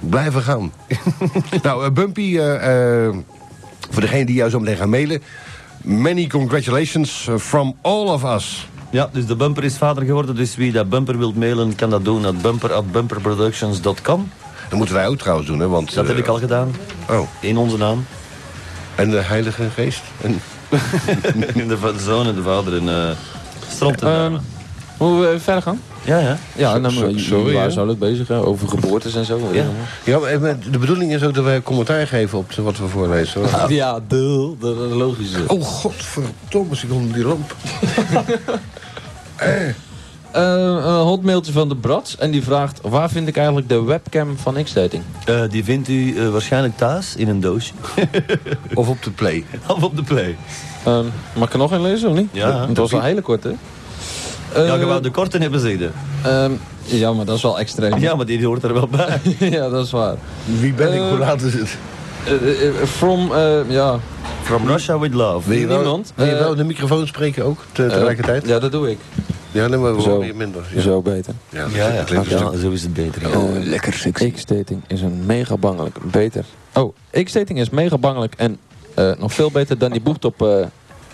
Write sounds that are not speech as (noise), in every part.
Blijven gaan. (laughs) nou, eh, Bumpy, eh, eh, voor degene die jou zo meteen gaan mailen... Many congratulations eh, from all of us. Ja, dus de bumper is vader geworden. Dus wie dat bumper wilt mailen, kan dat doen at bumper.bumperproductions.com. Dat moeten wij ook trouwens doen, hè? Want, Dat eh, heb ik al gedaan. Oh, In onze (laughs) naam. en de Heilige Geest? En, de va- zoon en de vader en eh strand en dame. Moeten we even eh, verder gaan? Ehm, Ja, ja. Ja, nou, so- maar jullie sorry, hè? waren zo leuk bezig, hè? over geboortes en zo. weet je Ja. allemaal. ja, maar, eh, maar de bedoeling is ook dat wij commentaar geven op wat we voorlezen. hoor. Ja, deel, dat is logisch. Oh, godverdomme, ik onder die lamp. Eh, een hotmailtje van de Brads en die vraagt... waar vind ik eigenlijk de webcam van X-Dating? Eh, die vindt u eh, waarschijnlijk thuis in een doosje. Of op de play. (laughs) of op de play. Ehm, mag ik er nog een lezen of niet? Ja. Het was wel hele kort, hè? Ja, Eh, je wou de korte hebben zegde. ehm, ja, maar dat is wel extreem. Ja, maar die hoort er wel bij. (laughs) Ja, dat is waar. Wie ben ik? Eh. Hoe laat is het? Eh, eh, eh, from, eh, ja, (laughs) From Russia with love. Wil je wel, Niemand? wil je Eh. wel in de microfoon spreken ook, te- eh, tegelijkertijd? ja, dat doe ik. Ja, nee, maar we Zo. horen je minder. Ja, Zo beter. ja, dat Ja, ja. klinkt een ja stuk- zo is het beter. ja. Oh, lekker sexy. X-dating is een mega bangelijk. Beter. Oh, X-dating is mega bangelijk en eh, nog veel beter dan die boekt op, eh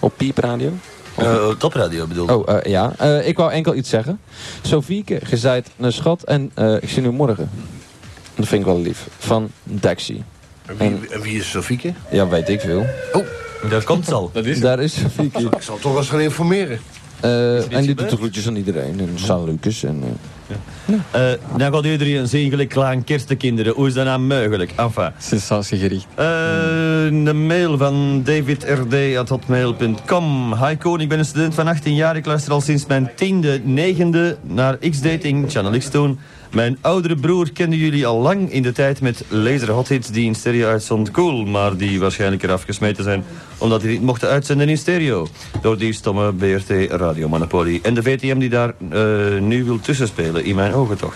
op Piep Radio. Eh, topradio bedoel ik. Oh, eh, ja. Eh, ik wou enkel iets zeggen. Sofieke, gezeid een schat en eh, ik zie u morgen. Dat vind ik wel lief. Van Daxi. En Wie, en wie is Sofieke? Ja, weet ik veel. Dat komt al. Daar is (laughs) Sofieke. Ik zal toch wel eens gaan informeren. Eh, en die doet gebeurd? de groetjes aan iedereen. En San Lucas en... eh, Eh, dan gaat iedereen zegelijk klaar kerstenkinderen. Hoe is dat nou mogelijk? Enfin. Sensatiegericht. Eh, een mail van davidrd.hotmail.com Hi Koen, ik ben een student van 18 jaar. Ik luister al sinds mijn tiende, negende naar X-Dating, Channel X toen. Mijn oudere broer kende jullie al lang in de tijd met laser hot hits die in stereo uitzond cool, maar die waarschijnlijk eraf gesmeten zijn omdat die niet mochten uitzenden in stereo. Door die stomme BRT radiomonopolie en de VTM die daar eh, nu wil tussenspelen, in mijn ogen toch.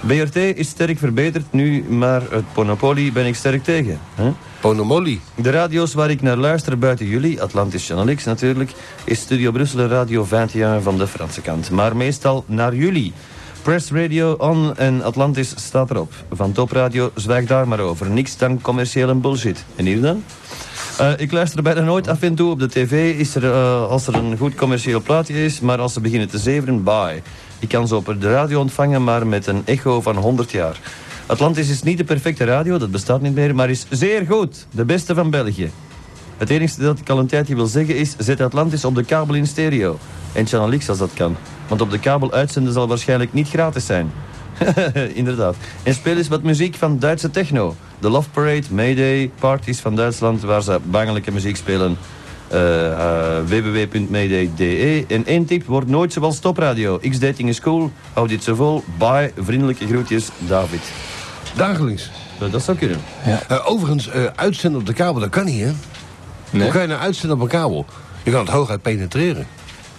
BRT is sterk verbeterd nu, maar het monopolie ben ik sterk tegen. hè? Ponomoli. De radio's waar ik naar luister buiten jullie, Atlantis Channel X natuurlijk, is Studio Brussel en Radio 21 van de Franse kant. Maar meestal naar jullie. Press Radio On en Atlantis staat erop. Van Top Radio zwijg daar maar over. Niks dan commerciële bullshit. En hier dan? Eh, ik luister bijna nooit af en toe op de tv is er, eh, als er een goed commercieel plaatje is, maar als ze beginnen te zeveren, bye. Ik kan ze op de radio ontvangen, maar met een echo van 100 jaar. Atlantis is niet de perfecte radio, dat bestaat niet meer, maar is zeer goed. De beste van België. Het enige dat ik al een tijdje wil zeggen is, zet Atlantis op de kabel in stereo. En Channel X als dat kan. Want op de kabel uitzenden zal waarschijnlijk niet gratis zijn. (laughs) Inderdaad. En speel eens wat muziek van Duitse techno. De Love Parade, Mayday, parties van Duitsland waar ze bangelijke muziek spelen. Eh, eh, www.mayday.de En één tip, word nooit zoals topradio. X-dating is cool, hou dit zo vol. Bye, vriendelijke groetjes, David. Dagelijks. Eh, dat zou kunnen. Eh, overigens, eh, uitzenden op de kabel, dat kan niet, hè? Hoe kan je nou uitzenden op een kabel? Je kan het hooguit penetreren.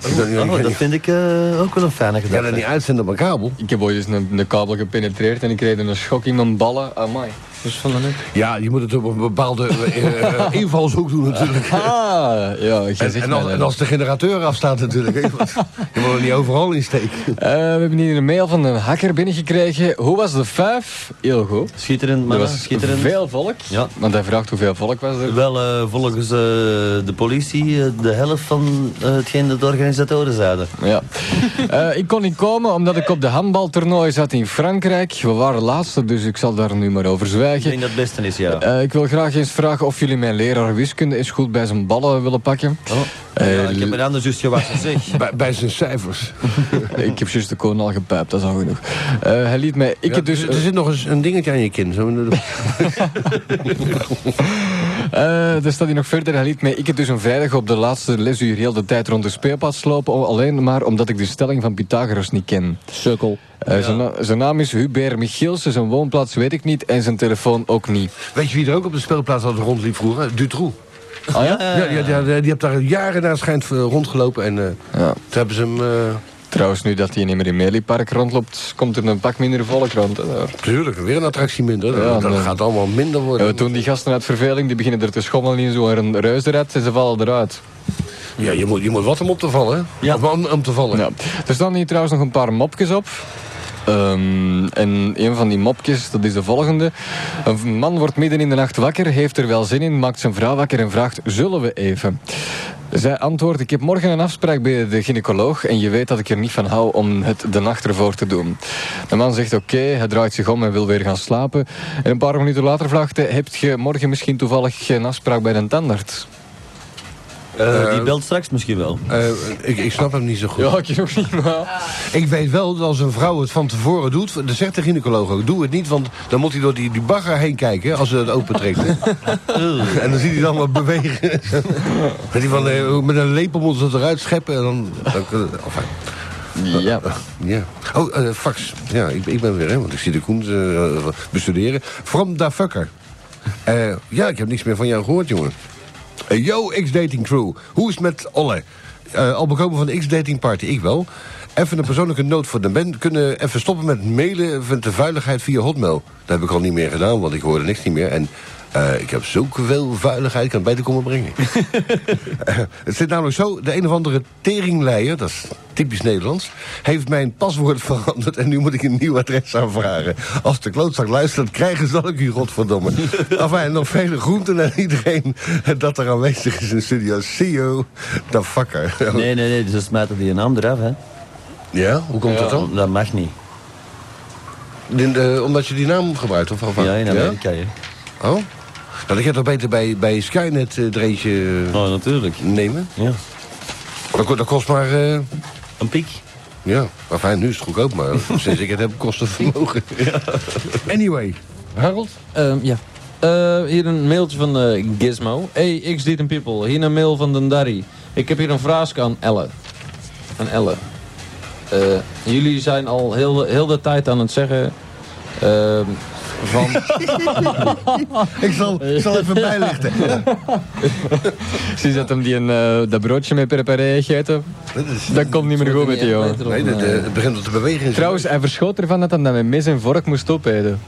Je kan, je kan- Oh, dat vind ik eh, ook wel een fijne je kan het gedachte. niet uitzenden op een kabel. Ik heb ooit eens een, een kabel gepenetreerd en ik kreeg een schok in mijn ballen. Amai. Dus van dan Ja, je moet het op een bepaalde (laughs) eh, eh, invalshoek doen natuurlijk. Ah, ja, jij En, zegt en, mij als, dat. en als de generateur afstaat natuurlijk. hè, want Je moet er niet overal in steken. Eh, we hebben hier een mail van een hacker binnengekregen. Hoe was de vijf? Heel goed. Schitterend, Er man. was Schitterend. veel volk. Ja. Want hij vraagt hoeveel volk was er. Wel, eh, volgens eh, de politie, eh, de helft van eh, hetgeen dat de organisatoren zeiden. Ja. (laughs) Eh, ik kon niet komen omdat ik op de handbaltoernooi zat in Frankrijk. We waren laatste, dus ik zal daar nu maar over Ik zwijgen. denk dat het beste is, ja. Eh, ik wil graag eens vragen of jullie mijn leraar wiskunde eens goed bij zijn ballen willen pakken. Oh. Eh, ja ik heb mijn anders juist gewassen, zeg. Bij, bij zijn cijfers. Ik heb juist de koon al gepijpt, dat is al genoeg. Eh, hij liet mij... Ik Ja, heb dus... er zit nog eens een dingetje aan je kin. Zo. Eh, daar staat hij nog verder. Hij liet mij, ik heb dus een vrijdag op de laatste lesuur heel de tijd rond de speelplaats lopen. o- Alleen maar omdat ik de stelling van Pythagoras niet ken. Sukkel. Eh, zijn, na- zijn naam is Hubert Michielsen, zijn woonplaats weet ik niet en zijn telefoon ook niet. Weet je wie er ook op de speelplaats had rondliep vroeger? Dutroux. Ah ja? Ja, ja, ja, die heeft daar jaren naar schijnt eh, rondgelopen. En eh, Ja. toen hebben ze hem... eh, Trouwens, nu dat hij niet meer in Meliepark rondloopt, komt er een pak minder volk rond. hè, daar. Tuurlijk, weer een attractie minder. Ja, dat nee. gaat allemaal minder Ja, worden. we doen Eh, die gasten uit verveling, die beginnen er te schommelen in zo'n reuzenrad en ze vallen eruit. Ja, je moet, je moet wat om op te vallen. hè? Ja. Of om, om te vallen. Ja. Er staan hier trouwens nog een paar mopjes op. Ehm, en een van die mopjes, dat is de volgende. Een man wordt midden in de nacht wakker, heeft er wel zin in, maakt zijn vrouw wakker en vraagt, zullen we even? Zij antwoordt, ik heb morgen een afspraak bij de gynaecoloog en je weet dat ik er niet van hou om het de nacht ervoor te doen. De man zegt oké, hij draait zich om en wil weer gaan slapen. En een paar minuten later vraagt hij, heb je morgen misschien toevallig geen afspraak bij de (laughs) tandarts? Eh, Eh, die belt straks misschien wel. Eh, ik, ik snap hem niet zo goed. Ja, ik ook niet, maar... Ik weet wel dat als een vrouw het van tevoren doet, dan zegt de gynaecoloog ook, doe het niet, want dan moet hij door die, die bagger heen kijken als ze dat opentrekt. (laughs) hè. en dan ziet hij dan wat bewegen. Met, die van, eh, met een lepel moet ze het eruit scheppen en dan... dan enfin, Ja. ja. Oh, eh, fax. Ja, ik, ik ben weer, hè, want ik zie de Koen eh, bestuderen. From da fucker. Eh, ja, ik heb niks meer van jou gehoord, jongen. Eh, yo, X-Dating Crew. Hoe is het met Olle? Eh, al bekomen van de X-Dating Party, ik wel. Even een persoonlijke noot voor de band. Kunnen even stoppen met mailen van de vuiligheid via Hotmail. Dat heb ik al niet meer gedaan, want ik hoorde niks niet meer. En eh, ik heb zoveel vuiligheid, ik kan het beter komen brengen. Het zit namelijk zo, de een of andere teringleier, dat is typisch Nederlands... heeft mijn paswoord (laughs) veranderd en nu moet ik een nieuw adres aanvragen. Als de klootzak luistert, krijgen ze dat ook u, godverdomme. (laughs) Enfin, nog vele groenten aan iedereen dat er aanwezig is in studio. See you, the fucker. Nee, nee, nee, ze smijten die naam eraf, hè. Ja, hoe komt dat dan? Dat mag niet. In de- omdat je die naam gebruikt? Of, of, Ah, Ja, in Amerika, hè. Oh? Dan ik het toch beter bij, bij Skynet eh, er eentje eh, Oh, natuurlijk. nemen? Ja. Dat, ko- dat kost maar... eh, Een piek. Ja, maar fijn, nu is het goedkoop, (laughs) maar sinds ik het heb kost het vermogen. Anyway, Harold? Ehm, ja. Eh, hier een mailtje van eh, Gizmo. Hey, x dit people. Hier een mail van Dendari. Ik heb hier een vraag aan Elle. Aan Elle. Eh, jullie zijn al heel, heel de tijd aan het zeggen... ehm, van... Ik zal, ik zal even bijlichten. Zie dat hem die een, eh, dat broodje met perperij gegeten? Dat is- Dat komt niet meer goed met die jongen. (laughs) nee, de- de- het begint al te bewegen. in zijn Trouwens, hij verschoot ervan dat hij dat met mes en vork moest opeten.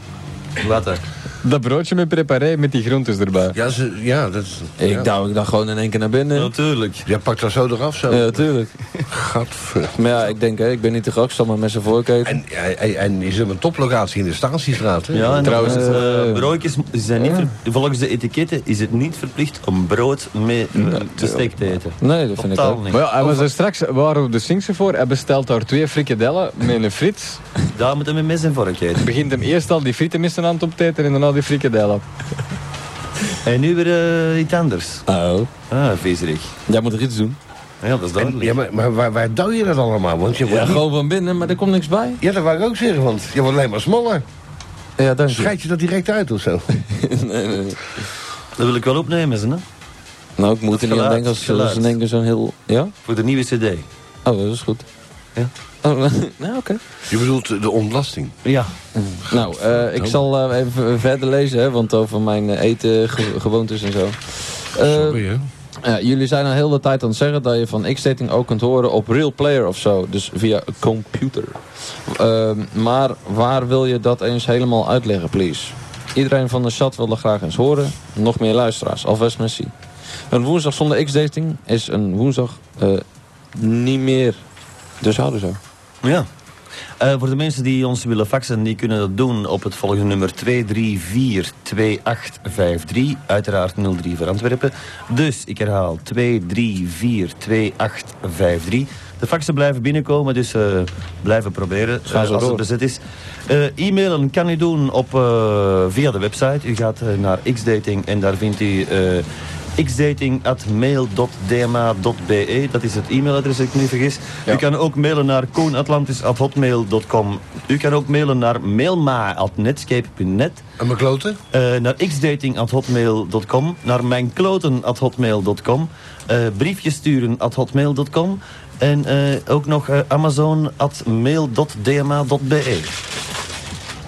Wat er? Dat broodje met preparé met die groentes erbij. neus. Ja, ze, ja, dat is... ja. Ik douw ik dan gewoon in één keer naar binnen. Natuurlijk. Jij pakt dat zo eraf, zo. Ja, natuurlijk. Gadver. Maar ja, ik denk, hè, ik ben niet de gast, maar met zijn voorkeur. En, en, en- en is er een toplocatie in de Statiestraat, hè? Ja, en Trouwens, trouwens, eh, broodjes zijn niet ver- volgens de etiketten is het niet verplicht om brood mee eh, te steek te eten. Nee, dat vind ik Oh, Totaal ook. niet. Maar ja, hij was er straks, we waren op de Sphinxen voor, hij bestelt daar twee frikadellen met een friet. Daar moeten we met mes en vork (laughs) eten. Begint hem eerst al die frieten met zijn hand op te eten en daarna die frikadellen. En nu weer eh, iets anders. Oh, Ah, viezerig. jij moet er iets doen. Ja, dat is En- duidelijk. ja maar, maar waar, waar douw je dat allemaal? Want je wordt Ja, niet- gewoon van binnen, maar er komt niks bij. ja, dat wou ik ook zeggen, want je wordt alleen maar smaller. Ja, dank je. Scheid je dat direct uit of zo? Nee, nee. Dat wil ik wel opnemen, ze, hè? Nou, ik moet er niet aan Geluid, denken als, als geluid. in één keer zo'n heel... Ja? Voor de nieuwe cd. Oh, dat is goed. Ja. Oh, (laughs) nou, oké. Je bedoelt de ontlasting. Ja. Nou, eh, ik zal eh, even verder lezen, hè, want over mijn eh, eten, ge- gewoontes en zo. Eh, Sorry, hè? ja, jullie zijn al heel de tijd aan het zeggen dat je van X-dating ook kunt horen op Real Player of zo. Dus via een computer. Ehm, maar waar wil je dat eens helemaal uitleggen, please? Iedereen van de chat wil er graag eens horen. Nog meer luisteraars. Alvast merci. Een woensdag zonder X-dating is een woensdag eh, niet meer. Dus houden zo. Ja. Eh, voor de mensen die ons willen faxen, die kunnen dat doen op het volgende nummer 2342853. Uiteraard 03 voor Antwerpen. Dus ik herhaal 2342853. De faxen blijven binnenkomen, dus eh, blijven proberen Gaan eh, zo als het door. bezet is. Eh, E-mailen kan u doen op, eh, via de website. U gaat eh, naar xdating en daar vindt u eh xdating.mail.dma.be. e. Dat is het e-mailadres, als ik me niet vergis. Ja. U kan ook mailen naar koenatlantis.hotmail.com. U kan ook mailen naar mailma.netscape.net. En mijn kloten? eh, naar xdating.hotmail.com. Naar mijnkloten.hotmail.com. eh briefjes sturen at hotmail.com. En eh, ook nog eh, amazon.mail.dma.be.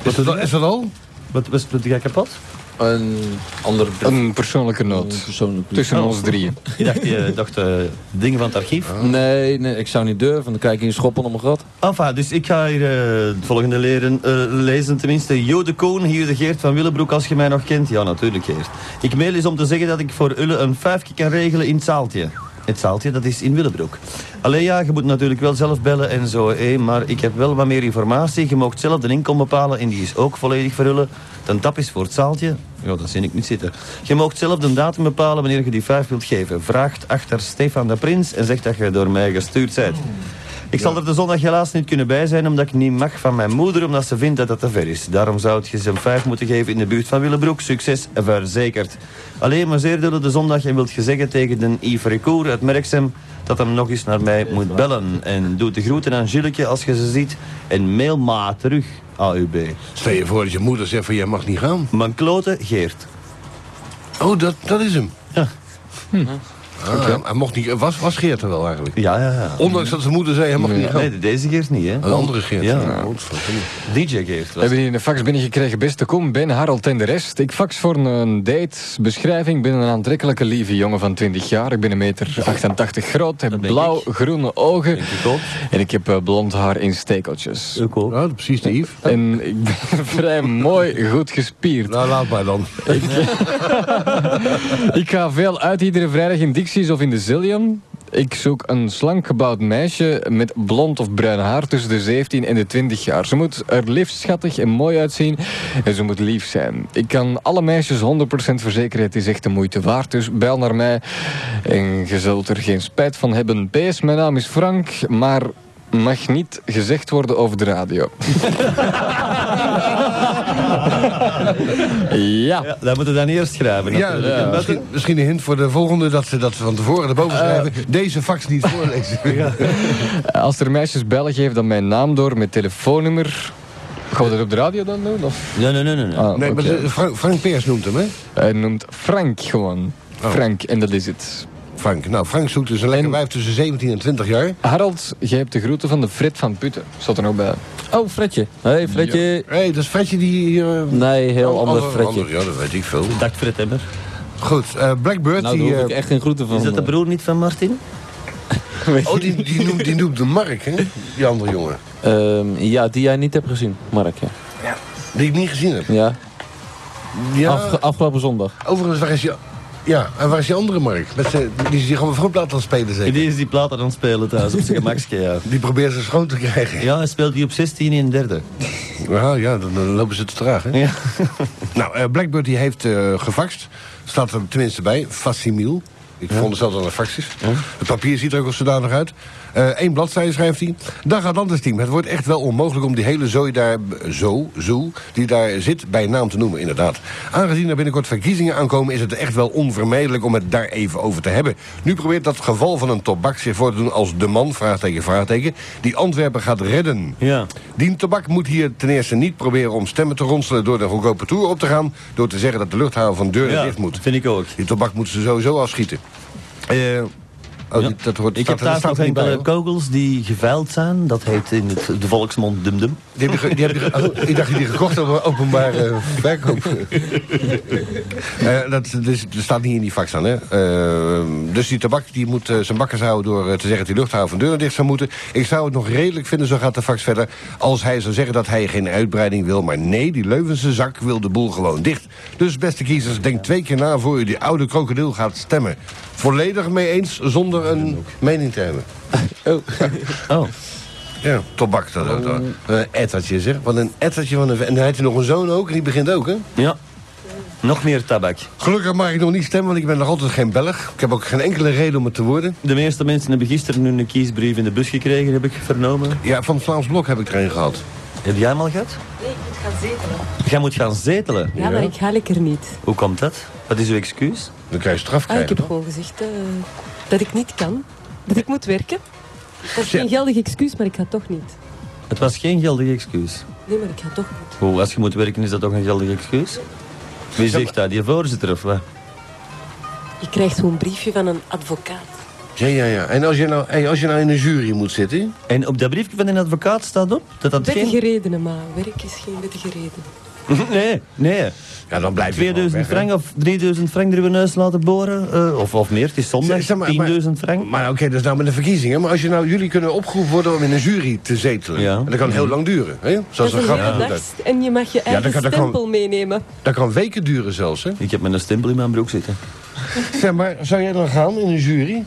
Is dat, al- is dat al? Wat was het jij kapot? Een andere Een persoonlijke Een noot. persoonlijk brief. Tussen ons drieën. Je dacht, je dacht eh, dingen van het archief. Nee, nee, ik zou niet durven. want Dan krijg ik in schoppen om mijn gat. Enfin, dus ik ga hier eh, het volgende leren, eh, lezen. Tenminste, Jo de Koon, hier de Geert van Willebroek, als je mij nog kent. Ja, natuurlijk, Geert. Ik mail is om te zeggen dat ik voor Ulle een vijfje kan regelen in het zaaltje. het zaaltje, dat is in Willebroek. Alleen ja, je moet natuurlijk wel zelf bellen en zo, hé, maar ik heb wel wat meer informatie. Je mag zelf de inkom bepalen en die is ook volledig verhullen. De tap is voor het zaaltje. Ja, dat zie ik niet zitten. Je mag zelf de datum bepalen wanneer je die vijf wilt geven. Vraagt achter Stefan de Prins en zegt dat je door mij gestuurd bent. Ik zal er de zondag helaas niet kunnen bij zijn, omdat ik niet mag van mijn moeder, omdat ze vindt dat dat te ver is. Daarom zou het je ze een vijf moeten geven in de buurt van Willebroek. Succes verzekerd. Alleen maar zeer door de zondag en wilt je zeggen tegen den Yves Recour uit Merksem dat hem nog eens naar mij moet bellen. En doe de groeten aan Gilletje als je ze ziet en mail ma terug, AUB. Stel je voor dat je moeder zegt van jij mag niet gaan. Mijn klote Geert. Oh, dat, dat is hem. Ja. Ah, hij- Hij mocht niet, was, was Geert er wel eigenlijk? Ja, ja, ja. Ondanks dat zijn moeder zei hij mag niet gaan. Nee, deze Geert niet, hè? Oh. Een andere Geert. Ja. godverdomme. DJ Geert. We hebben hier een fax binnengekregen. Beste Koen, Ben, Harold en de rest. Ik fax voor een datebeschrijving. Ik ben een aantrekkelijke, lieve jongen van 20 jaar. Ik ben een meter 88 groot, heb Dat ben blauw-groene ogen. ik ook. En ik heb eh, blond haar in stekeltjes. Ook ook. Nou, precies de Yves. En ik ben (laughs) vrij mooi, goed gespierd. Nou, laat maar dan. (laughs) Ik ga veel uit iedere vrijdag in Dixies of in de Zillion. Ik zoek een slank gebouwd meisje met blond of bruin haar tussen de 17 en de 20 jaar. Ze moet er liefst schattig en mooi uitzien en ze moet lief zijn. Ik kan alle meisjes 100% verzekeren, het is echt de moeite waard. Dus bel naar mij en je zult er geen spijt van hebben. PS, mijn naam is Frank, maar mag niet gezegd worden over de radio. (laughs) (laughs) ja. Ja, dat moeten we dan eerst schrijven. Ja, natuurlijk. En dat- Misschien, misschien een hint voor de volgende dat ze dat van tevoren erboven schrijven. Deze fax niet voorlezen. Eh, Als er meisjes bellen, geef dan mijn naam door met telefoonnummer. Gaan we dat op de radio dan doen? Of? Nee, nee, nee, nee. nee. Ah, Nee, maar oké. ze- Frank, Frank Peers noemt hem, hè? Hij noemt Frank gewoon. Oh. Frank, en dat is het. Frank. Nou, Frank zoekt dus een lekker En- wijf tussen 17 en 20 jaar. Harold, jij hebt de groeten van de Fred van Putten. Zat er nog bij. Oh, Fredje. hey, Fredje. Hé, dat is Fredje die hier... eh, Nee, heel oh, ander ander- Fredje. Nou, ander- Ja, dat weet ik veel. Dag Fred Emmer. Goed, eh, Blackbird, Nou, daar die, hoef ik eh, echt geen groeten van. Is dat de eh, broer niet van Martin? oh, die, die, noemt, die noemt de Mark, hè? Die andere jongen. ehm, ja, die jij niet hebt gezien, Mark. Ja. Die ik niet gezien heb. ja. Ja, Afge- afgelopen zondag. overigens, waar is je... Ja, en waar is die andere Mark? Met zijn- die is hier gewoon vroegplaat aan het spelen, zeker? Die is die plaat aan het spelen thuis, op zijn gemakske, ja. Die probeert ze schoon te krijgen. Ja, hij speelt die op 16 in derde. Ja, ja dan, dan lopen ze te traag, hè? Ja. (laughs) Nou, eh, Blackbird die heeft eh gefaxt. Staat er tenminste bij. Facsimil. Ik vond het zelfs dat het een fax is. Het papier ziet er ook als zodanig uit. Eén bladzijde schrijft hij. Dag Atlantis-team. Het wordt echt wel onmogelijk om die hele zooi daar... Zo, zo, die daar zit, bij naam te noemen, inderdaad. Aangezien er binnenkort verkiezingen aankomen... is het echt wel onvermijdelijk om het daar even over te hebben. Nu probeert dat geval van een tobak zich voor te doen als de man... vraagteken, vraagteken, die Antwerpen gaat redden. Ja. Dien Tabak moet hier ten eerste niet proberen om stemmen te ronselen door de goedkope tour op te gaan. door te zeggen dat de luchthaven van deuren dicht moet. vind ik ook. Die tabak moeten ze sowieso afschieten. Eh, oh, Ja. die- dat hoort Ik staat er- heb dat thuis staat nog er niet bij, enkele hoor. kogels die geveild zijn. Dat heet in het, de volksmond dumdum. Die heb je ge- die heb je ge- oh, Ik dacht dat je die gekocht op een openbare eh, verkoop. Eh, dat, dus, dat staat niet in die fax dan, hè? Eh, dus die tabak die moet eh, zijn bakkers houden door eh, te zeggen... dat die luchthaven van deuren dicht zou moeten. Ik zou het nog redelijk vinden, zo gaat de fax verder... als hij zou zeggen dat hij geen uitbreiding wil. Maar nee, die Leuvense zak wil de boel gewoon dicht. Dus beste kiezers, denk twee keer na... voor u die oude krokodil gaat stemmen. Volledig mee eens, zonder een mening te hebben. Oh, Ja, tobak. Dat, dat, dat. Een ettertje, zeg. Wat een ettertje van een... ve- En hij heeft nog een zoon ook, en die begint ook, hè? ja. Nog meer tabak. Gelukkig mag ik nog niet stemmen, want ik ben nog altijd geen Belg. Ik heb ook geen enkele reden om het te worden. De meeste mensen hebben gisteren hun kiesbrief in de bus gekregen, heb ik vernomen. Ja, van het Vlaams Blok heb ik er een gehad. Heb jij hem al gehad? Nee, ik moet gaan zetelen. Jij moet gaan zetelen. Ja, maar ik ga lekker niet. Hoe komt dat? Wat is uw excuus? Dan krijg je straf Ah, ik krijgen. heb gewoon gezegd eh, dat ik niet kan. Dat ik moet werken. Dat is geen Shit. geldig excuus, maar ik ga toch niet. Het was geen geldig excuus. Nee, maar ik ga toch niet. Hoe, als je moet werken, is dat toch een geldig excuus? Wie zegt dat? Die voorzitter of wat? Je krijgt zo'n briefje van een advocaat. ja, ja, ja. En als je, nou, hey, als je nou in een jury moet zitten... En op dat briefje van een advocaat staat op dat dat Wettige geen... redenen, maar werk is geen wettige reden. Nee, nee. Ja, dan blijf je gewoon 2000 weg, hè. frank of 3000 frank door je neus laten boren. eh, of, of meer, het is zondag. Zeg maar, 10.000 maar- frank. Maar oké, dat is nou met de verkiezingen. Maar als je nou, jullie kunnen opgeroepen worden om in een jury te zetelen. Ja. En dat kan heel lang duren. Hè? Dat Zoals is een een grap. hele doet dag dat. en je mag je dat eigen kan- dat kan- stempel meenemen. dat kan weken duren zelfs. Hè? Ik heb met een stempel in mijn broek zitten. Zeg maar, zou jij dan gaan in een jury?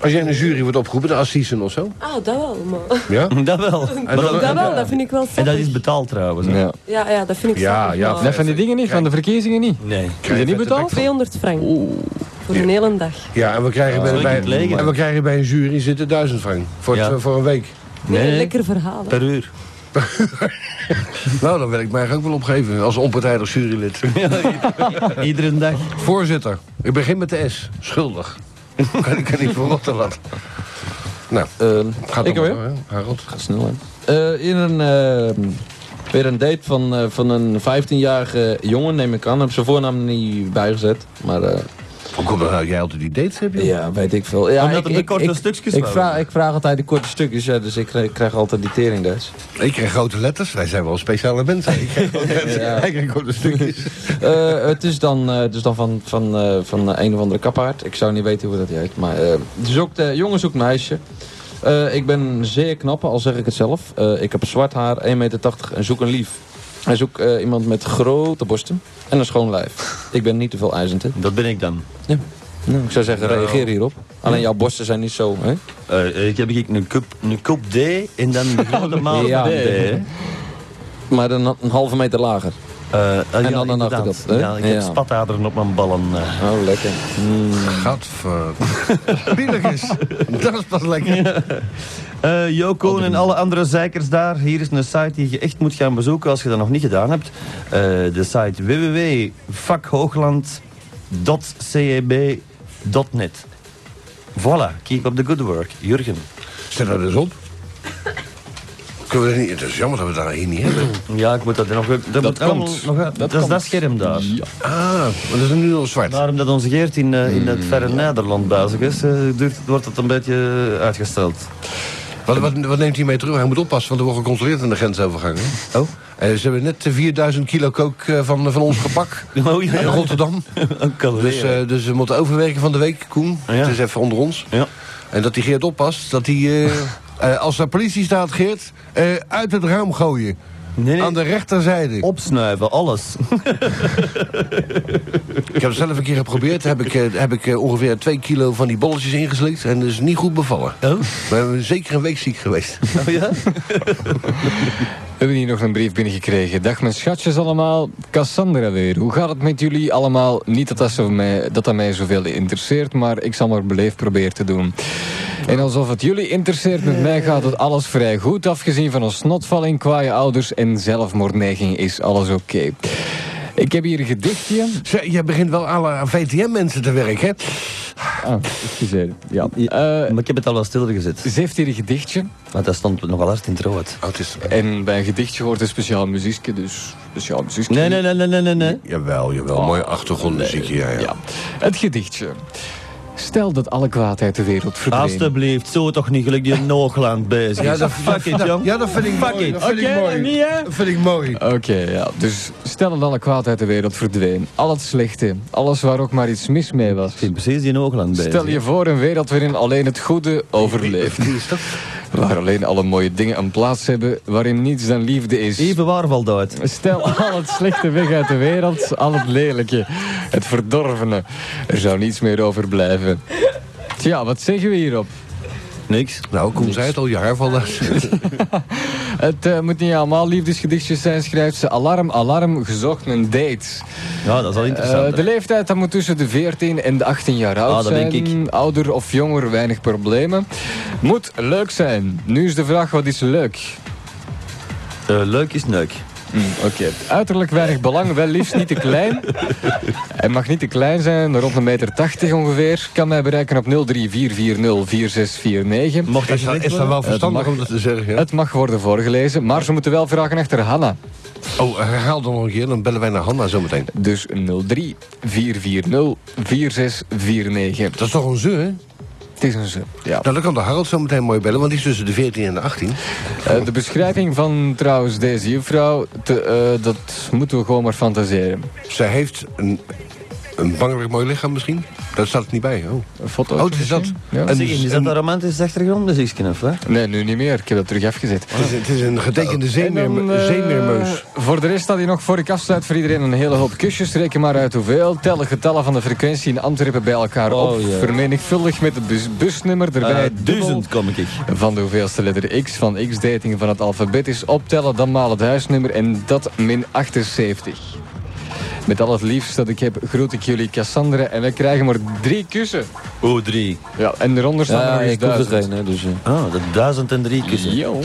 Als jij in een jury wordt opgeroepen, de assisen of zo. Ah, dat wel, maar... Ja? (laughs) Dat wel. Maar dan- Dat wel, dat vind ik wel En dat sappig. is betaald trouwens. hè? Ja. Ja, ja, dat vind ik Ja, sappig, ja, maar- Nee, van die dingen niet, van de verkiezingen niet. Nee. Is dat niet betaald? 200 frank. Voor Ja. een hele dag. Ja, en we krijgen, Ja, bij, dat is bij, leeg, hè? en we krijgen bij een jury zitten duizend frank. Voor, het- Ja. voor een week. Nee, Nee. een lekker verhaal. hè. Per uur. Nou, dan wil ik mij ook wel opgeven als onpartijdig jurylid. Iedere dag. (laughs) Ah, Voorzitter, ik begin met de S. Schuldig. (laughs) kan, ik kan niet verrotten wat. Nou, Eh, gaat ik toch alweer? wel, hè, Harold. Gaat snel, hè? Eh, in een, eh, weer een date van, eh, van een 15-jarige jongen, neem ik aan. Heb zijn voornaam niet bijgezet. Maar eh, Hoe komt het nou dat jij altijd die dates hebt, joh? ja, weet ik veel. Ja, Omdat ik, het de ik- korte ik- stukjes ik waren. vraag, ik vraag altijd de korte stukjes, ja, dus ik krijg, krijg altijd die tering des. Ik krijg grote letters. Wij zijn wel speciale mensen. Ik krijg grote letters. Ja. Hij krijgt grote stukjes. Eh, het is dan, eh, dus dan van, van, eh, van eh, een of andere kappaard. Ik zou niet weten hoe dat heet. Maar eh, zoekt, eh, jongen zoekt meisje. Eh, ik ben zeer knap, al zeg ik het zelf. Eh, ik heb zwart haar, 1,80 meter en zoek een lief. Hij zoekt eh, iemand met grote borsten en een schoon lijf. Ik ben niet te veel eisend, hè? Dat ben ik dan. Nou, ik zou zeggen, Nou. reageer hierop. Alleen jouw borsten zijn niet zo, hè? Eh, ik heb ik een cup, een cup D en dan een grote maal Ja. D. hè. Maar dan een halve meter lager. Eh, ah, ja, dan een inderdaad. achterkant, hè? Ja, ik heb Ja. spataderen op mijn ballen. eh. Oh, lekker. Gadver. (laughs) Bielig is. Dat is pas lekker. Eh, Jo Koon en alle andere zeikers daar. Hier is een site die je echt moet gaan bezoeken als je dat nog niet gedaan hebt. Eh, de site e www.vakhoogland.ceb.net Voilà, keep up the good work. Jurgen. Stel dat nou eens op. Kunnen we dat niet, het is jammer dat we daar hier niet hebben. Ja, ik moet dat nog... Dat, moet komt. allemaal nog dat, is komt. dat scherm daar. Ah, maar dat is nu al zwart. Daarom dat onze Geert in, eh, in het verre Nederland bezig is, eh, duurt, wordt het een beetje uitgesteld. Wat, wat, wat neemt hij mee terug? Hij moet oppassen, want er wordt gecontroleerd aan de grensovergang. hè? Oh. Eh, ze hebben net eh, 4000 kilo kook eh, van, van ons gepak. Oh ja, In (laughs) ja. Rotterdam. Een calorie. Dus, eh, dus we moeten overwerken van de week, Koen. Oh Ja. Het is even onder ons. ja. En dat die Geert oppast, dat hij... (laughs) eh, eh, als er politie staat, Geert, eh, uit het raam gooien. Nee, nee. Aan de rechterzijde. Opsnuiven, alles. Ik heb het zelf een keer geprobeerd. Heb ik, eh, heb ik eh, ongeveer 2 kilo van die bolletjes ingeslikt. En dat is niet goed bevallen. Oh, We hebben zeker een week ziek geweest. oh (laughs) ja? We hebben hier nog een brief binnengekregen. Dag mijn schatjes allemaal, Cassandra weer. Hoe gaat het met jullie allemaal? Niet dat dat, zo mij, dat, dat mij zoveel interesseert, maar ik zal maar beleefd proberen te doen. En alsof het jullie interesseert, met mij gaat het alles vrij goed. Afgezien van een snotvalling, kwaaie ouders en zelfmoordneiging is alles oké. Ik heb hier een gedichtje. Zeg, Jij begint wel alle aan VTM-mensen te werken, hè? Ah, excuseer. Ja. Eh, Maar ik heb het al wel stil gezet. ze heeft hier een gedichtje. Maar dat stond nogal hard in het rood. Oh, het is... En bij een gedichtje hoort een speciaal muziekje, dus speciaal muziekje. Nee, nee, nee, nee, nee, nee, nee. Jawel, jawel. Mooie achtergrondmuziekje, ja, Oh. ja. Ja. Het gedichtje. Stel dat alle kwaad uit de wereld verdween. Alsjeblieft, zo toch niet gelijk die Noogland bezig. Ja, dat, fuck it, (laughs) dat- jong. ja, dat vind ik Fuck mooi. it. Dat vind Oké, ik mooi. dan niet, hè? Dat vind ik mooi. Oké, ja. Dus stel dat alle kwaad uit de wereld verdween. Al het slechte. Alles waar ook maar iets mis mee was. Ik ben precies die Noogland bezig. Stel je voor een wereld waarin alleen het goede overleeft. Waar alleen alle mooie dingen een plaats hebben. Waarin niets dan liefde is. Even waar valt uit? Stel al het slechte weg uit de wereld, al het lelijke, het verdorvene. Er zou niets meer overblijven. Tja, wat zeggen we hierop? Niks. Nou, Koen zei het al, je haar valt (laughs) uit. Het eh, moet niet allemaal liefdesgedichtjes zijn, schrijft ze. Alarm, alarm, gezocht een date. Ja, dat is al Eh, interessant. de leeftijd dat moet tussen de 14 en de 18 jaar oud Ah, dat zijn. denk ik. Ouder of jonger, weinig problemen. Moet leuk zijn. Nu is de vraag, wat is leuk? Eh, leuk is neuk. Oké. Uiterlijk weinig belang, wel liefst niet te (laughs) klein. Hij mag niet te klein zijn, rond 1,80 meter ongeveer. Kan mij bereiken op 03-440-4649. Mocht dat Is, je dat- niks is Eh, dat wel verstandig mag- om dat te zeggen? ja? Het mag worden voorgelezen, maar ze moeten wel vragen achter Hanna. Oh, herhaal dan nog een keer, dan bellen wij naar Hanna zometeen. Dus 03 440 4649. Dat is toch een ze, hè? Het is een ze. Ja. Nou, dan kan de Harold zometeen mooi bellen, want die is tussen de 14 en de 18. Eh, de beschrijving van trouwens deze juffrouw, te, eh, dat moeten we gewoon maar fantaseren. Zij heeft een Een bangelijk mooi lichaam misschien? Daar staat het niet bij. Oh, Een foto. oh het is dat. Ja. Een- Zeg, is dat een romantische achtergrondmuziekje of wat? Nee, nu niet meer. Ik heb dat terug afgezet. Het is, het is een getekende zeemeerme- En dan, eh, zeemeermeus. Voor de rest staat hier nog voor ik afsluit voor iedereen een hele hoop kusjes. Reken maar uit hoeveel. Tel de getallen van de frequentie in Antwerpen bij elkaar Oh, op. ja. Vermenigvuldig met het bus- busnummer erbij. Eh, duizend kom ik. Van de hoeveelste letter X van X-dating van het alfabet is optellen, dan maal het huisnummer en dat min 78. Met al het liefst dat ik heb, groet ik jullie Cassandra en we krijgen maar drie kussen. Oh, drie. Ja, en eronder staan er Ja, nog eens ik hoef er duizend. geen, hè, dus... eh, Ah, dat duizend en drie kussen. Yo,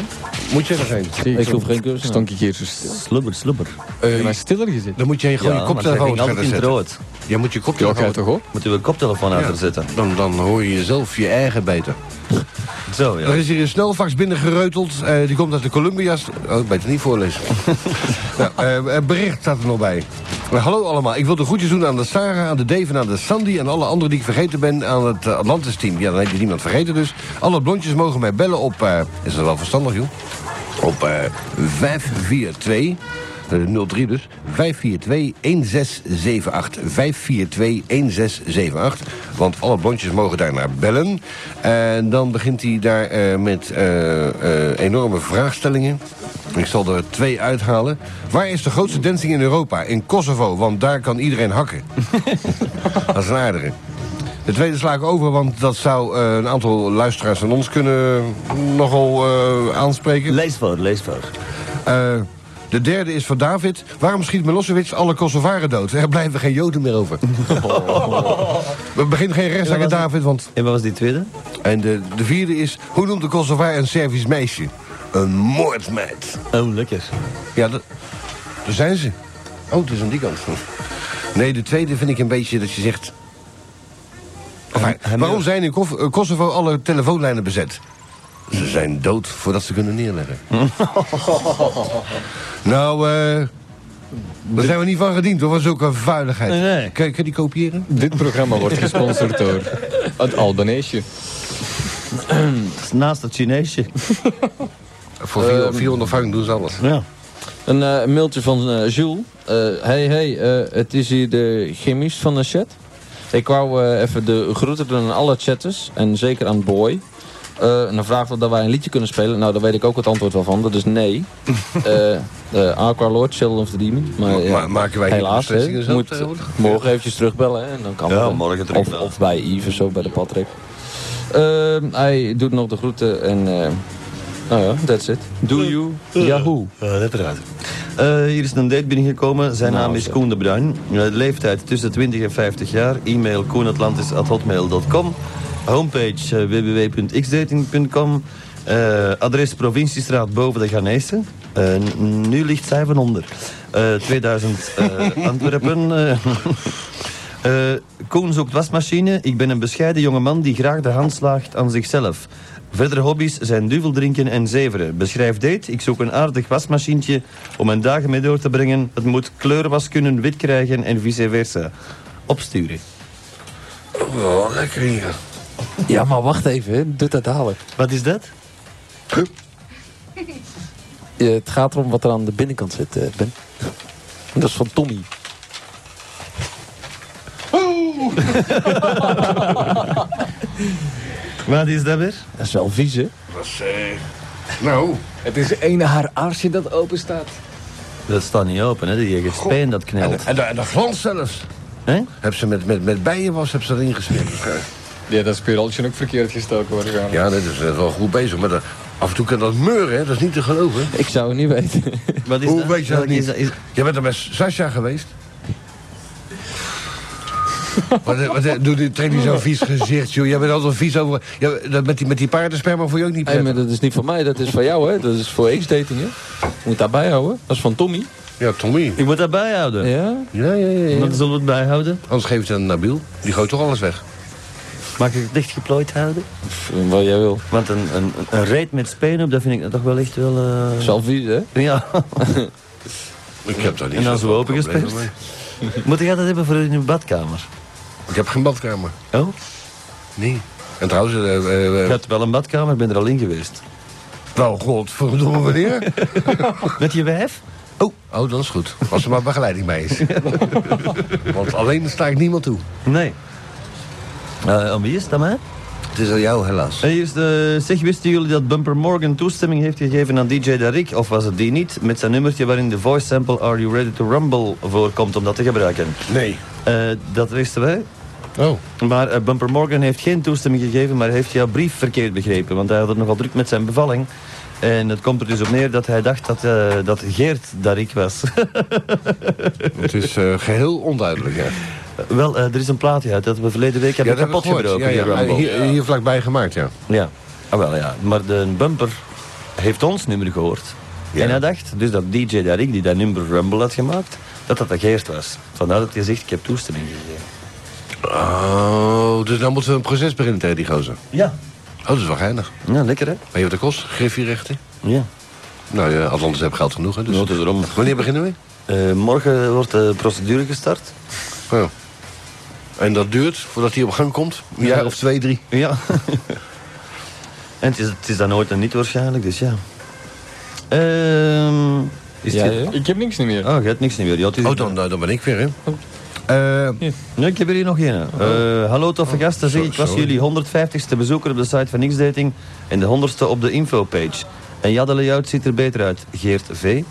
Moet je er zijn. zie, Ik hoef geen kussen. Stonk ik hier zo stil. Slubber, slubber. Eh, Ik heb mij stiller gezet. dan moet jij gewoon je maar zij koptelefoon ging altijd verder in het zetten. rood. Jij moet je Ja, ga je koptelefoon... toch op? Moet je wel koptelefoon Ja. achter zetten. Dan, dan hoor je jezelf je eigen beter. Zo, ja. Er is hier een snelfax binnengereuteld. eh, die komt uit de Columbia... st- Oh, beter niet voorlezen. nou, eh, eh, bericht staat er nog bij. Eh, hallo allemaal. Ik wil de groetjes doen aan de Sarah, aan de Dave en aan de Sandy... en alle anderen die ik vergeten ben aan het eh, Atlantis-team. Ja, dan heb je niemand vergeten dus. Alle blondjes mogen mij bellen op... eh, is dat wel verstandig, joh? Op eh 542... eh, 03 dus. 542-1678. 542-1678. Want alle blondjes mogen daar naar bellen. En dan begint hij daar eh, met eh, eh, enorme vraagstellingen. Ik zal er twee uithalen. Waar is de grootste dancing in Europa? In Kosovo, want daar kan iedereen hakken. Dat is een aardige. De tweede sla ik over, want dat zou eh, een aantal luisteraars van ons kunnen nogal eh, aanspreken. Lees voor, lees voor. Eh, de derde is van David. Waarom schiet Milosevic alle Kosovaren dood? Er blijven geen Joden meer over. We beginnen geen rechtszaak aan David, want... En wat was die tweede? En de, de vierde is... Hoe noemt de Kosovaar een Servisch meisje? Een moordmeid. Oh, lekker. Ja, dat, daar zijn ze. Oh, het is aan die kant. Nee, de tweede vind ik een beetje dat je zegt... Enfin, waarom zijn in Kos- eh, Kosovo alle telefoonlijnen bezet? Ze zijn dood voordat ze kunnen neerleggen. (laughs) nou, eh... Daar zijn we niet van gediend, hoor, van zulke vuiligheid. Nee, nee. Kun, je- kun je die kopiëren? Dit programma wordt gesponsord door het Albaneesje. Dat is naast het Chineesje. Voor vier- 400 frank doen ze alles. Ja. Een eh, mailtje van eh, Jules. Eh, hey, hey, eh, het is hier de chemist van de chat. Ik wou eh, even de groeten doen aan alle chatters. En zeker aan Boy. Eh, en dan vraagt hij dat wij een liedje kunnen spelen. Nou, daar weet ik ook het antwoord wel van. Dat is (laughs) nee. Eh eh, Aqua Lord, Children of the Demon. Maar, ja, Ma- maken wij hier helaas, hè. beslissingen zelf Moet tegenwoordig? morgen eventjes terugbellen. Hè, en dan kan Ja, het, hè. morgen of, terugbellen. of bij Yves of zo, bij de Patrick. Ehm, hij doet nog de groeten en... eh nou ja, that's it. Do you? Yahoo. dat eruit. Eh, hier is een date binnengekomen. Zijn naam is zeg. Koen de Bruin. Eh, leeftijd tussen 20 en 50 jaar. E-mail koenatlantis.hotmail.com Homepage eh, www.xdating.com Eh, Adres Provinciestraat boven de Ganeese. Eh, n- nu ligt zij van onder. Eh, 2000 (laughs) eh, Antwerpen. eh. Eh, Koen zoekt wasmachine. Ik ben een bescheiden jongeman die graag de hand slaagt aan zichzelf. Verdere hobby's zijn duvel drinken en zeveren. Beschrijf date. Ik zoek een aardig wasmachientje om mijn dagen mee door te brengen. Het moet kleurwas kunnen wit krijgen en vice versa. Opsturen. Oh, lekker hier. Ja, maar wacht even, hè. doe dat dadelijk. Wat is dat? Eh, het gaat erom wat er aan de binnenkant zit, eh, Ben. (laughs) Dat is van Tommy. Wat is dat weer? Dat is wel vies, hè? Dat is, eh, Nou, Het is ene haar aarsje dat open staat. Dat staat niet open, hè? Die spijn dat en, knelt. en, de- en de glans zelfs. Hè? Heb ze met, met, met bijenwas heb ze erin (laughs) gesmeerd. Ja, dat spiraaltje ook verkeerd gestoken worden gaan. Ja, dat is eh, wel goed bezig. Maar dat- af en toe kan dat meuren, hè? dat is niet te geloven. Ik zou het niet (laughs) weten. Wat is Hoe weet je dat Welk niet? is is- Jij bent er met Sascha geweest. wat, eh, wat, eh, doe die trek die zo'n vies gezicht, joh. Jij bent altijd vies over... Ja, dat met, die, met die paardensperma vond je ook niet Hey, maar prettig. dat is niet van mij, dat is van jou, hè? Dat is voor X-dating, hè? Moet daarbij houden. Dat is van Tommy. Ja, Tommy. Ik moet dat bijhouden. Ja? Ja, ja, ja. ja. Dan zullen we het bijhouden. Anders geef je het aan Nabil. Die gooit toch alles weg. Mag ik het dicht geplooid houden? Pff, Wat jij wil. Want een, een, een reet met spijn op, dat vind ik toch wel echt wel... eh, Dat is wel vies, hè? Ja. Ik heb daar niet En dan zoveel zo open problemen gesperd. Moet je dat hebben voor in je badkamer? mee. Ik heb geen badkamer. Oh? Nee. En trouwens, eh, eh, Je eh, hebt wel een badkamer, ik ben er al in geweest. wel godverdomme wanneer? Met je wijf? Oh, oh, dat is goed. Als er maar begeleiding bij (laughs) is. Want alleen sta ik niemand toe. Nee. Eh, om wie is het dan, hè? Het is aan jou, helaas. Hey, Eerst, eh, zeg, wisten jullie dat Bumper Morgan toestemming heeft gegeven aan DJ Darik, of was het die niet, met zijn nummertje waarin de voice sample Are You Ready to Rumble voorkomt om dat te gebruiken? Nee. Eh, dat wisten wij, Oh. maar eh, Bumper Morgan heeft geen toestemming gegeven, maar heeft jouw brief verkeerd begrepen, want hij had het nogal druk met zijn bevalling. En het komt er dus op neer dat hij dacht dat, eh, dat Geert Darik was. Het is eh, geheel onduidelijk, ja. Wel, eh, er is een plaatje uit dat we verleden week hebben dat kapot heb ik gehoord. gebroken, Ja, die ja. Rumble. Hier, eh, hier vlakbij gemaakt, ja. Ja, ah, wel ja. Maar de bumper heeft ons nummer gehoord. Ja. En hij dacht dus dat DJ Darik, die dat nummer Rumble had gemaakt, dat dat de Geert was. Vandaar dat hij zegt, ik heb toestemming gegeven. Oh, dus dan moeten we een proces beginnen tegen die gozer. Ja. Oh, dat is wel geinig. Ja, lekker hè? Weet je wat dat kost? Griffierechten? Ja. Nou ja, Atlantis heb geld genoeg, hè. Dus. Ja, het is erom. Wanneer beginnen we? Eh, morgen wordt de procedure gestart. Oh. En dat duurt voordat hij op gang komt? Een Ja. jaar of twee, drie? Ja. (laughs) en het is, het is dan nooit en niet waarschijnlijk, dus ja. Ehm is Ja, het... ja. Ik heb niks niet meer. Oh, je hebt niks niet meer. Ja, het is- Oh, dan, dan ben ik weer, hè. Eh, Nee, ik heb er hier nog geen. Oh. Eh, hallo toffe gasten, zeg, ik was sorry. jullie 150ste bezoeker op de site van Xdating en de 100ste op de infopage. En ja, de layout ziet er beter uit. Geert V.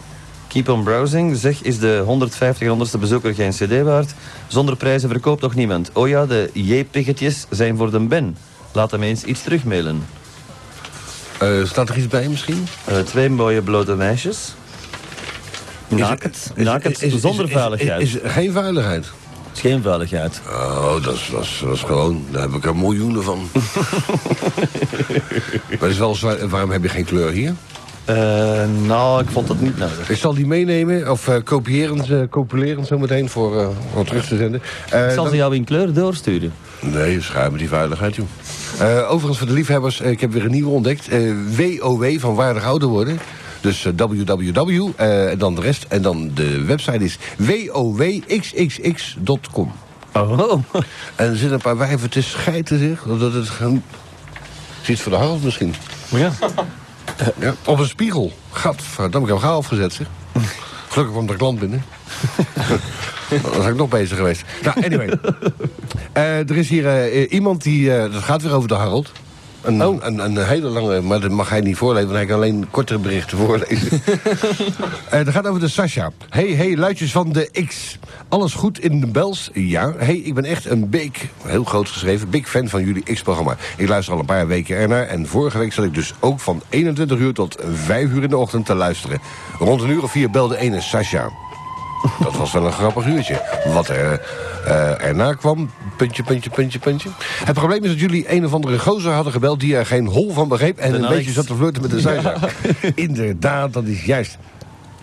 Keep on browsing. Zeg, is de 150 en 100ste bezoeker geen cd waard? Zonder prijzen verkoopt toch niemand? Oh ja, de J-piggetjes zijn voor de Ben. Laat hem eens iets terugmailen. eh, staat er iets bij misschien? Eh, twee mooie blote meisjes. Naked. Is- Naked, is- is- zonder is- is- veiligheid. Is, is geen veiligheid. Het is geen veiligheid. Oh, dat is, dat, is, dat is gewoon... Daar heb ik er miljoenen (laughs) van. maar dat is wel zwaar, waarom heb je geen kleur hier? Eh, nou, ik vond dat niet nodig. Ik zal die meenemen, of eh kopiëren, ze- compileren zo meteen voor eh, om terug te zenden. Eh, Ik zal dan- ze jou in kleur doorsturen. Nee, schuim die veiligheid, joh. Eh, overigens, voor de liefhebbers, eh, ik heb weer een nieuwe ontdekt. Eh, WOW, van waardig ouder worden. Dus eh, www, eh, en dan de rest. En dan de website is wowxxx.com. Oh, En er zitten een paar wijven te schijten, zich. Omdat het gewoon... Ziet voor de hals misschien. Oh, Ja. Ja, op een spiegel. Gadverdamme, ik heb hem afgezet, zeg. Gelukkig kwam de klant (laughs) binnen. Dan was ik nog bezig geweest. Nou, anyway. Eh, er is hier eh, iemand die... eh, dat gaat weer over de Harold. Een, een, een hele lange... Maar dat mag hij niet voorlezen, want hij kan alleen kortere berichten voorlezen. Eh, dat gaat over de Sasha. Hey, hey, luidjes van de X. Alles goed in de bels? Ja. Hey, ik ben echt een big, heel groot geschreven, big fan van jullie X-programma. Ik luister al een paar weken ernaar en vorige week zat ik dus ook van 21 uur tot 5 uur in de ochtend te luisteren. Rond een uur of vier belde ene Sasha. Dat was wel een grappig uurtje. Wat er eh, erna kwam, puntje, puntje, puntje, puntje. Het probleem is dat jullie een of andere gozer hadden gebeld... die er geen hol van begreep en De een Alex. beetje zat te flirten met de Sasha. Inderdaad, dat is juist.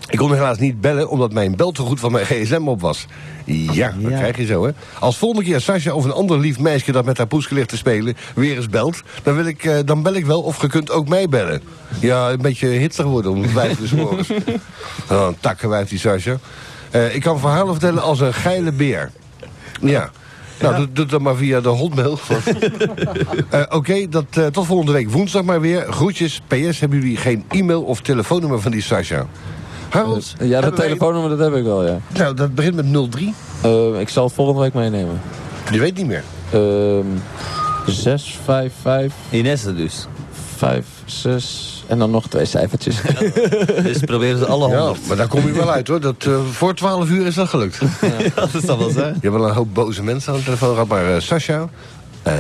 Ik kon helaas niet bellen omdat mijn beltegoed van mijn gsm op was. Ja, dat Ja. krijg je zo, hè. Als volgende keer Sasha of een ander lief meisje dat met haar poeske ligt te spelen... weer eens belt, dan, wil ik, eh, dan bel ik wel of je kunt ook mij bellen. Ja, een beetje hitsig worden om vijf uur 's morgens. Oh, een takkenwijf die Sasha. Eh, ik kan verhalen vertellen als een geile beer. Ja. Nou, doe, doe dat maar via de hotmail. Eh, Oké, dat, eh, tot volgende week woensdag maar weer. Groetjes. PS, hebben jullie geen e-mail of telefoonnummer van die Sasha? Harold? Ja, dat hebben wij- telefoonnummer dat heb ik wel, ja. Nou, dat begint met 03. Eh, ik zal het volgende week meenemen. Je weet niet meer. Ehm 6, 5, 5, Inesse dus. 5, 6 en dan nog twee cijfertjes. (laughs) Dus proberen ze alle Ja, honderd. maar daar kom je wel uit hoor. Dat, eh, voor 12 uur is dat (laughs) gelukt. (laughs) Ja, dat zal wel zijn. Je hebt wel een hoop boze mensen aan de telefoon gehad, maar eh, Sascha. eh,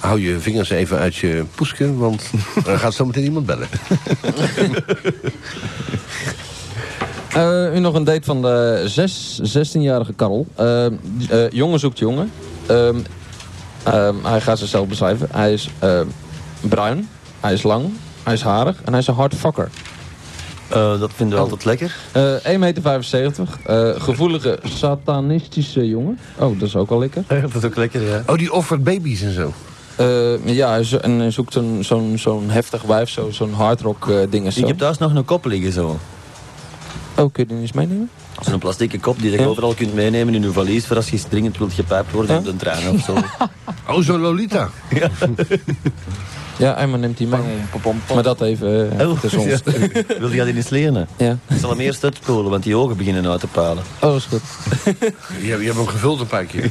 hou je vingers even uit je poesken, want (laughs) er gaat zometeen iemand bellen. Eh, nu nog een date van de zes- 16-jarige Karel. Ehm, eh, jongen zoekt jongen. Ehm, ehm, hij gaat zichzelf beschrijven. Hij is ehm, bruin, hij is lang, hij is harig en hij is een hardvakker. Eh, dat vinden we altijd lekker. Eh 1,75 meter, eh, gevoelige satanistische jongen. Oh, dat is ook wel lekker. dat is ook lekker, ja. Oh, die offert baby's en zo. Eh, ja, hij zo- en hij zoekt een- zo'n zo'n heftig wijf, zo- zo'n hardrock eh ding en zo. Ik heb thuis nog een kop liggen zo. Oh, kun je die eens meenemen? Zo'n plastieke kop die je Ja. overal kunt meenemen in je valies voor als je (laughs) dringend wilt gepijpt worden Ja. op de trein of zo. Oh, zo'n Lolita. Ja, Emma neemt die mee. Maar dat even eh, Oh, (laughs) tussen ons. Wil je dat eens leren? Ja. Ik zal hem eerst uitkolen, want die ogen beginnen uit te palen. Oh, is goed. Je, je hebt hem gevuld een paar (laughs) keer.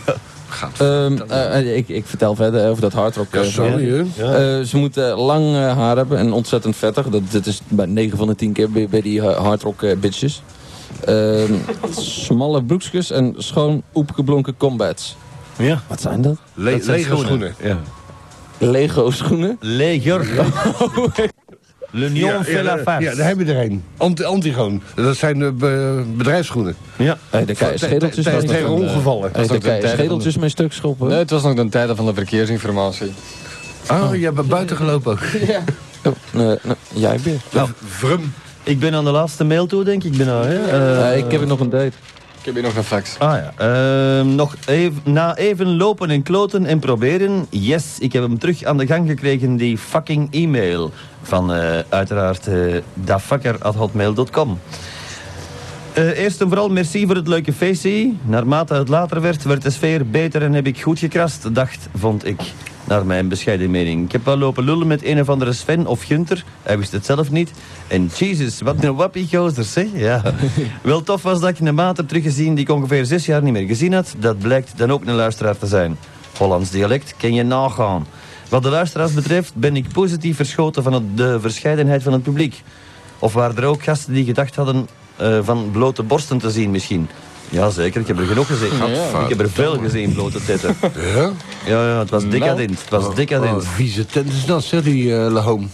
Gaat. Ehm, eh, eh, ik, ik vertel verder over dat hardrock. Ja, eh, sorry, hè. Ja. Eh, ze moeten lang eh, haar hebben en ontzettend vettig. Dat, dat is bij 9 van de 10 keer bij, bij die eh, hardrock eh, bitches. Ehm, (laughs) smalle broekjes en schoon opgeblonken combats. ja. Wat zijn dat? Le- Dat zijn lege schoenen. Ja. Lego schoenen. Leger. L'Union Ja, Villa ja, daar- ja, daar hebben we er een. Ant Antigoon. Dat zijn eh, be- bedrijfschoenen. Ja. Hey, daar kan je schedeltjes Tegen- mee Tegen ongevallen. Hey, is daar ook de kan je derde schedeltjes mee stuk schoppen. Nee, het was nog de tijden van de verkeersinformatie. Oh, je hebt buiten gelopen ook. Oh, nee, nee, jij weer. Nou, Vrum. ik ben aan de laatste mail toe, denk ik. Ben al, hè? Eh, Eh, ik heb nog een date. Ik heb hier nog een fax. Ah ja. Ehm, nog even, na even lopen en kloten en proberen. Yes, ik heb hem terug aan de gang gekregen, die fucking e-mail. Van eh, uiteraard eh dafakker.hotmail.com. Eh, eerst en vooral merci voor het leuke feestje. Naarmate het later werd, werd de sfeer beter en heb ik goed gekrast, dacht, vond ik. Naar mijn bescheiden mening. Ik heb wel lopen lullen met een of andere Sven of Gunter. Hij wist het zelf niet. En Jesus, wat een wappie gozers, hè? Ja. wel tof was dat ik een mater teruggezien die ik ongeveer zes jaar niet meer gezien had. Dat blijkt dan ook een luisteraar te zijn. Hollands dialect ken je nagaan. Wat de luisteraars betreft ben ik positief verschoten van het- de verscheidenheid van het publiek. Of waren er ook gasten die gedacht hadden eh, van blote borsten te zien misschien? Jazeker, ik heb er genoeg gezien. ja. Ik heb er veel gezien, blote tetten. (laughs) Ja? Ja, ja, het was Nou. decadent. Het was Oh, decadent. vieze tent is dat, zeg die eh, Lahoom.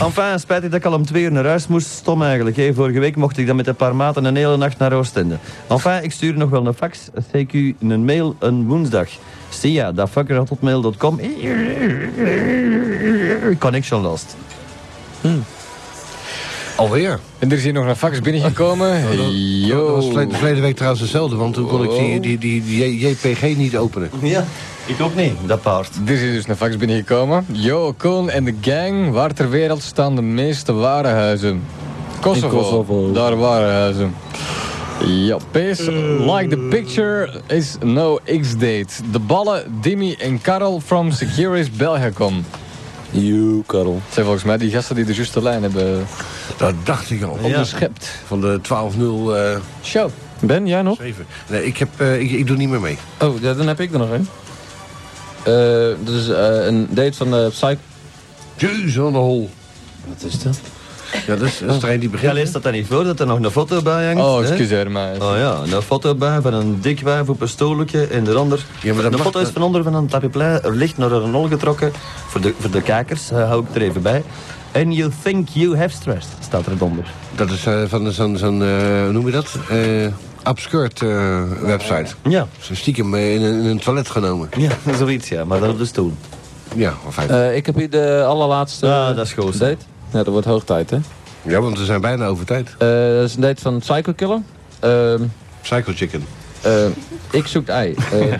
Enfin, spijtig dat ik al om twee uur naar huis moest. Stom eigenlijk. hè. Vorige week mocht ik dan met een paar maten een hele nacht naar Oostende. Enfin, ik stuur nog wel een fax, een CQ, een mail, een woensdag. Sia, dat fucker had hotmail.com. Connection lost. Alweer. En er is hier nog een fax binnengekomen. Dat Yo. was verleden, verleden week trouwens hetzelfde, want toen kon ik die, die, die, die J- JPG niet openen. Ja, ik ook niet. Dat paard. Er is hier dus een fax binnengekomen. Yo, Koen en de gang. Waar ter wereld staan de meeste warenhuizen? Kosovo. In Kosovo. Daar warenhuizen. Ja, peace. Like the picture is no X-date. De ballen, Dimmy en Karel from Securis Belgacom. You, Karel. Het zijn volgens mij die gasten die de juiste lijn hebben Dat dacht ik al. Ja. onderschept. Van de 12-0... eh, Show. Ben, jij nog? Even. Nee, ik, heb, eh, ik, ik doe niet meer mee. Oh, ja, dan heb ik er nog een. Eh, dat is eh, een date van de Psych... Jezus, aan de hol. Wat is dat? Ja, dat is, dat is er een die Ja, begint. lees dat dan niet voor, dat er nog een foto bij hangt. Oh, hè? excuseer mij. Oh ja, een foto bij van een dik wijf op een stoeltje en de ander. Ja, maar dat de mag- foto is van onder van een tapiplei, er ligt naar een nol getrokken. Voor de, voor de kijkers eh, hou ik er even bij. And you think you have stress, staat er onder. Dat is eh, van zo'n, zo'n eh, hoe noem je dat? Eh obscured eh, website. Ja. Zo stiekem eh, in, een- in een toilet genomen. Ja, (laughs) zoiets ja, maar dan op de stoel. Ja, maar fijn. Eh, ik heb hier de allerlaatste Ah, dat is goed. date. Ja, dat wordt hoog tijd, hè? ja, want we zijn bijna over tijd. Eh, dat is een date van Psycho Killer. Ehm, Psycho Chicken. eh, ik zoek (laughs) ei. Eh,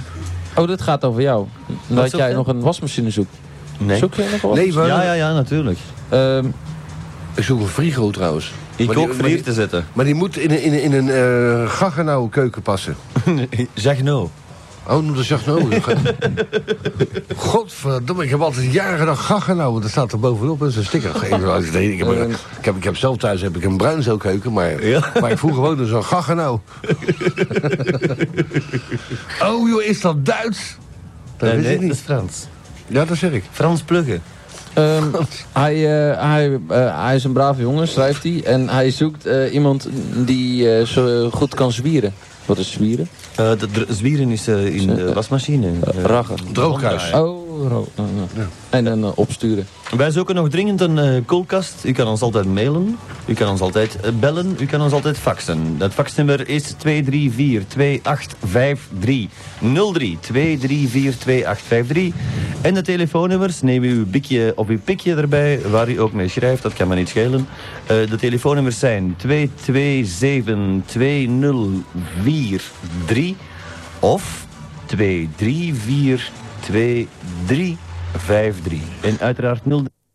oh, dit gaat over jou. Dat zoek jij je? nog een wasmachine zoekt. Nee. Zoek jij nog wat? Nee, maar, Ja, ja, ja, natuurlijk. Ehm, ik zoek een frigo trouwens. Ik Maar die- ook maar voor die- hier te (laughs) zetten. Maar die moet in, een- in, een- in een eh gaggenauwe keuken passen. Eh, Zeg no. Oh, noem dat zacht (laughs) nodig. Godverdomme, ik heb altijd jaren gedacht gaggenauwe. Dat staat er bovenop en zo'n sticker. Ik, ik, heb, een- ik, heb, ik heb zelf thuis heb ik een bruinzeelkeuken, maar, Ja. maar ik vroeg gewoon zo'n (laughs) gaggenauw. oh joh, is dat Duits? Dat nee, weet nee, ik dat is niet. Frans. Ja, dat zeg ik. Frans pluggen. (laughs) ehm, hij, eh, hij, eh, hij is een brave jongen, schrijft hij. En hij zoekt eh, iemand die eh, zo goed kan zwieren. Wat is zwieren? Eh, de, de zwieren is eh, in de wasmachine. Eh, Raggen. Droogkruis. Oh, ro- eh, eh. En dan eh, opsturen. Wij zoeken nog dringend een eh, koelkast. U kan ons altijd mailen. U kan ons altijd eh, bellen. U kan ons altijd faxen. Dat faxnummer is 234-2853-03. 234-2853. En de telefoonnummers, neem uw bikje of uw pikje erbij, waar u ook mee schrijft, dat kan me niet schelen. Eh, de telefoonnummers zijn 227-2043 of 234-2353. En uiteraard 0...